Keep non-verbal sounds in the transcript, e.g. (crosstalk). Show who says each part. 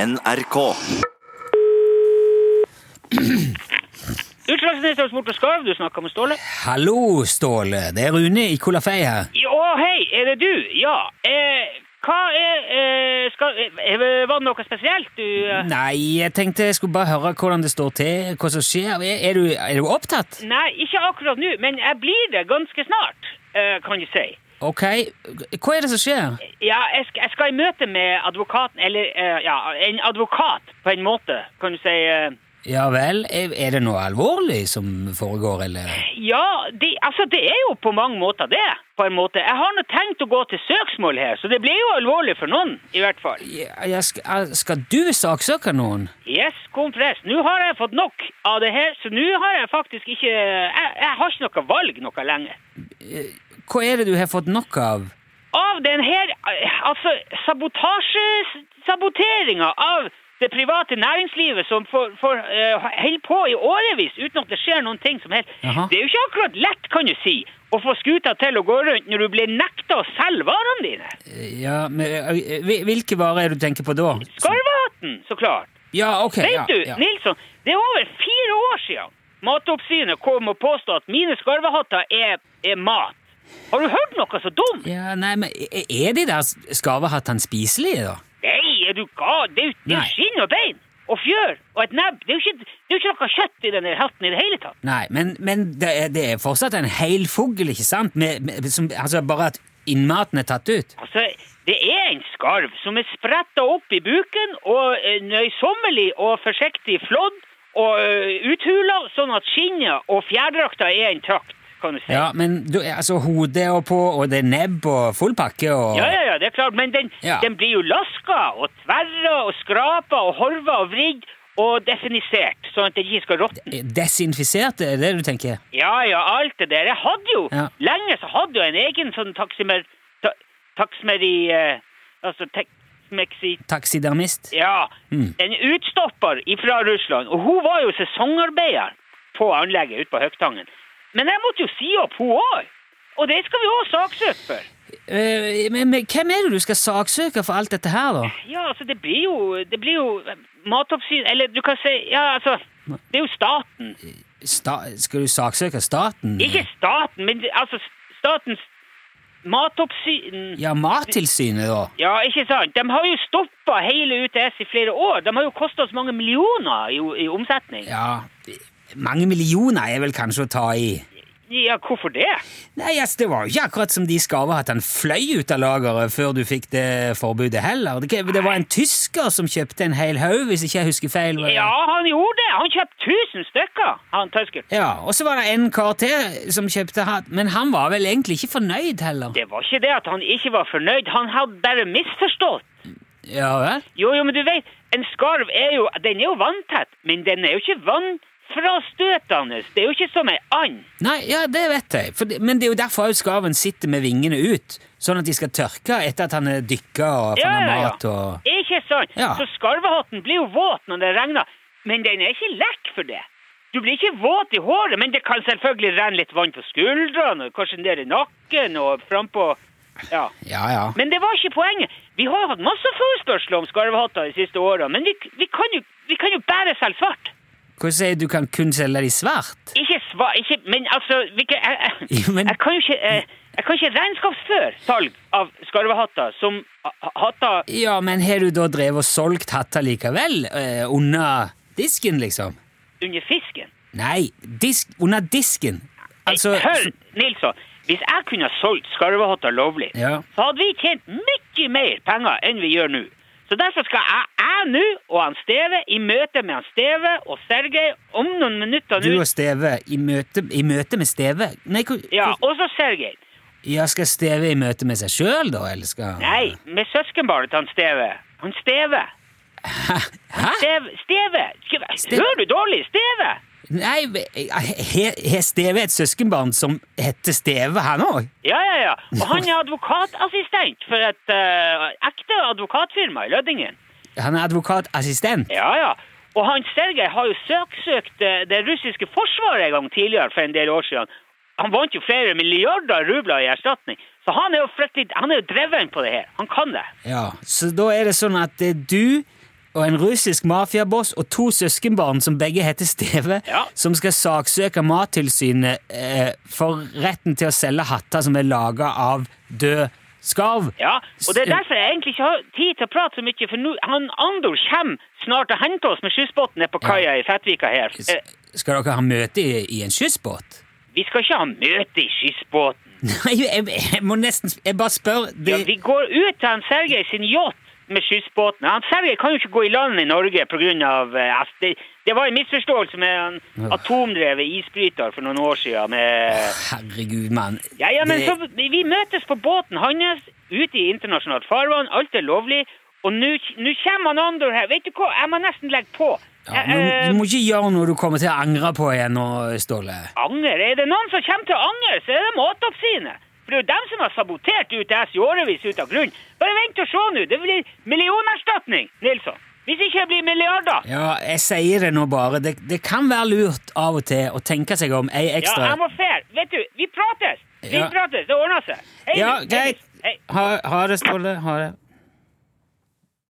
Speaker 1: NRK.
Speaker 2: Utslagsminister hos Morten Skarv, du snakker med Ståle.
Speaker 3: Hallo, Ståle. Det er Rune i Kolafei her.
Speaker 2: Å, hei, er det du? Ja. Eh, hva er, eh, skal, eh, Var det noe spesielt du eh?
Speaker 3: Nei, jeg tenkte jeg skulle bare høre hvordan det står til, hva som skjer. Er, er, du, er du opptatt?
Speaker 2: Nei, ikke akkurat nå, men jeg blir det ganske snart, eh, kan du si.
Speaker 3: Ok, hva er det som skjer?
Speaker 2: Ja, jeg skal, jeg skal i møte med advokaten, eller eh, ja, en advokat på en måte, kan du si. eh.
Speaker 3: Ja vel, er, er det noe alvorlig som foregår, eller?
Speaker 2: Ja, det, altså det er jo på mange måter det, på en måte. Jeg har nå tenkt å gå til søksmål her, så det blir jo alvorlig for noen, i hvert fall.
Speaker 3: Ja, jeg skal, skal du saksøke noen?
Speaker 2: Yes, kompress. Nå har jeg fått nok av det her, så nå har jeg faktisk ikke jeg, jeg har ikke noe valg noe lenger.
Speaker 3: Hva er det du har fått nok av?
Speaker 2: Av den her Altså, sabotasje... Saboteringa av det private næringslivet som får, får eh, holder på i årevis uten at det skjer noen ting som helst.
Speaker 3: Jaha.
Speaker 2: Det er jo ikke akkurat lett, kan du si, å få skuta til å gå rundt når du blir nekta å selge varene dine.
Speaker 3: Ja, men, eh, hvil- hvilke varer er det du tenker på da?
Speaker 2: Skarvehatten, så klart.
Speaker 3: Ja, ok.
Speaker 2: Vet
Speaker 3: ja,
Speaker 2: du,
Speaker 3: ja.
Speaker 2: Nilsson, det er over fire år siden Matoppsynet kom og påstod at mine skarvehatter er, er mat. Har du hørt noe så dumt?
Speaker 3: Ja, nei, men er- Er de der skarvehattene spiselige, da?
Speaker 2: Nei, er du gal? Det er jo det er
Speaker 3: Nei.
Speaker 2: jo skinn og bein og fjør og et nebb. Det er jo ikke, det er jo ikke noe kjøtt i denne hatten i det hele tatt.
Speaker 3: Nei, men, men det, er, det er fortsatt en hel fugl, ikke sant? Med, med, som, altså bare at innmaten er tatt ut.
Speaker 2: Altså, det er en skarv som er spretta opp i buken og eh, nøysommelig og forsiktig flådd og eh, uthula, sånn at skinnet og fjærdrakta er intakt, kan du si.
Speaker 3: Ja, men du, altså hodet og på, og det er nebb og full pakke og
Speaker 2: Ja, ja, ja, det er klart, men den,
Speaker 3: Ja.
Speaker 2: den blir jo laska og tverra og skrapa og horva og vridd og definisert, sånn at det ikke skal råtne.
Speaker 3: Desinfisert, er det du tenker?
Speaker 2: Ja, ja, alt det der. Jeg hadde jo,
Speaker 3: Ja.
Speaker 2: lenge så hadde jeg en egen sånn taksimer... Ta, taksimeri... Eh, altså, tekmeksi...
Speaker 3: Taksidermist?
Speaker 2: Ja,
Speaker 3: Mm.
Speaker 2: en utstopper fra Russland, og hun var jo sesongarbeider på anlegget ute på Høgtangen. Men jeg måtte jo si opp hun òg, og det skal vi òg saksøke for.
Speaker 3: Eh, men, men hvem er det du skal saksøke for alt dette her, da?
Speaker 2: Ja, altså det blir jo, det blir jo eh, matoppsyn, eller du kan si, ja altså, det er jo staten.
Speaker 3: Sta skal du saksøke staten?
Speaker 2: Ikke staten, men det- altså statens matoppsyn.
Speaker 3: Ja, Mattilsynet, da?
Speaker 2: Ja, ikke sant? De har jo stoppet hele UTS i flere år. De har jo kostet oss mange millioner i, i omsetning. Ja.
Speaker 3: Ja, mange millioner er vel kanskje å ta i?
Speaker 2: hvorfor det?
Speaker 3: Nei, ass, det var jo ikke akkurat som de skarvehattene fløy ut av lageret før du fikk det forbudet heller. Det, det var en tysker som kjøpte en hel haug, hvis ikke jeg husker feil. var det?
Speaker 2: Ja, han gjorde det. Han kjøpte tusen stykker, han tøsker.
Speaker 3: Ja, og så var det en kar til som kjøpte hatt, men han var vel egentlig ikke fornøyd heller.
Speaker 2: Det var ikke det at han ikke var fornøyd. Han hadde bare misforstått.
Speaker 3: Ja vel?
Speaker 2: Jo, jo, men du vet, en skarv er jo, den er jo vanntett, men den er jo ikke vannfrastøtende. Det er jo ikke som ei and.
Speaker 3: Nei, ja, det vet jeg. For, det- men det er jo derfor også skarven sitter med vingene ut, sånn at de skal tørke etter at han er dykka og
Speaker 2: Ja, ja,
Speaker 3: fanga
Speaker 2: ja.
Speaker 3: mat og
Speaker 2: Ikke sant?
Speaker 3: Ja.
Speaker 2: Så skarvehatten blir jo våt når det regner, men den er ikke lekk for det. Du blir ikke våt i håret, men det kan selvfølgelig renne litt vann på skuldrene, og kanskje ned i nakken og frampå. Ja.
Speaker 3: Ja, ja.
Speaker 2: Men det var ikke poenget. Vi har jo hatt masse forespørsler om skarvehatter de siste åra, men vi, vi, kan jo, vi kan jo bare selge svart.
Speaker 3: Hva sier du, kan kun selge de svart?
Speaker 2: Ikke svar, ikke, men altså hvilke, jeg, jeg,
Speaker 3: Jo, men-
Speaker 2: jeg kan jo ikke jeg, jeg kan ikke regnskapsføre salg av skarvehatter som ha- hatter
Speaker 3: Ja, men har du da drevet og solgt hatter likevel? Eh, under disken, liksom?
Speaker 2: under fisken.
Speaker 3: Nei, disk, under disken. Altså
Speaker 2: Nei, Hør, Nilsson. Hvis jeg kunne ha solgt skarvehatter lovlig,
Speaker 3: Ja.
Speaker 2: så hadde vi tjent mye mer penger enn vi gjør nå. Så derfor skal jeg, jeg nå og han Steve i møte med han Steve og Sergej om noen minutter
Speaker 3: Du
Speaker 2: nå.
Speaker 3: og Steve i møte, i møte med Steve? Nei, hvor,
Speaker 2: Ja,
Speaker 3: hvor-
Speaker 2: også Sergej.
Speaker 3: ja, skal Steve i møte med seg sjøl, da? Eller skal
Speaker 2: Nei, med søskenbarnet til han Steve. Han Steve.
Speaker 3: Ah. Hæ?
Speaker 2: Steve. Steve. Skal-
Speaker 3: Steve-
Speaker 2: Hører du dårlig? Steve.
Speaker 3: Nei, eh, Har har Steve et søskenbarn som heter Steve, han òg?
Speaker 2: Ja, ja, ja. Og han er advokatassistent for et eh, ekte advokatfirma i Lødingen.
Speaker 3: Han er advokatassistent?
Speaker 2: Ja, ja. Og han Sergej har jo søksøkt eh, det russiske forsvaret en gang tidligere for en del år siden. Han vant jo flere milliarder rubler i erstatning. Så han er jo, fryktelig- han er jo dreven på det her. Han kan det.
Speaker 3: Ja, så da er det sånn at det er du og en russisk mafiaboss og to søskenbarn som begge heter Steve,
Speaker 2: Ja.
Speaker 3: som skal saksøke Mattilsynet eh, for retten til å selge hatter som er laga av død skarv.
Speaker 2: Ja, og det er derfor jeg egentlig ikke har tid til å prate så mye, for nå, han Andor kommer snart og henter oss med skyssbåten nede på kaia i Fettvika her.
Speaker 3: S-
Speaker 2: Eh,
Speaker 3: Skal dere ha møte i, i en skyssbåt?
Speaker 2: vi skal ikke ha møte i skyssbåten.
Speaker 3: (laughs) Nei, jeg, jeg må nesten sp- Jeg bare spør.
Speaker 2: Ja,
Speaker 3: Det,
Speaker 2: vi går ut til han Sergej sin yacht med skyssbåten. Han Sergej kan jo ikke gå i land i Norge pga. eh, altså, det, det var en misforståelse med han atomdrevet isbryter for noen år siden. Med,
Speaker 3: herregud, mann.
Speaker 2: ja, ja, men
Speaker 3: Det-
Speaker 2: så, vi møtes på båten hans ute i internasjonalt farvann. Alt er lovlig. Og nå nå kommer han Andor her. Vet du hva, jeg må nesten legge på.
Speaker 3: ja,
Speaker 2: Jeg,
Speaker 3: du,
Speaker 2: eh,
Speaker 3: du må ikke gjøre noe du kommer til å angre på igjen nå, Ståle.
Speaker 2: Anger? Er det noen som kommer til å angre, så er det matoppsynet. For det er jo dem som har sabotert UTS i årevis ut av grunn. Bare vent og se nå. Det blir millionerstatning, Nilsson. Hvis ikke det blir milliarder.
Speaker 3: Ja, jeg sier det nå bare. Det, det kan være lurt av og til å tenke seg om ei
Speaker 2: Ja,
Speaker 3: ekstra
Speaker 2: jeg må fair. Vet du, vi prates. Vi
Speaker 3: Ja.
Speaker 2: prates. Det ordner seg. Hei,
Speaker 3: Ja,
Speaker 2: Nils.
Speaker 3: greit.
Speaker 2: Hei.
Speaker 3: Ha, ha det, Ståle. Ha det.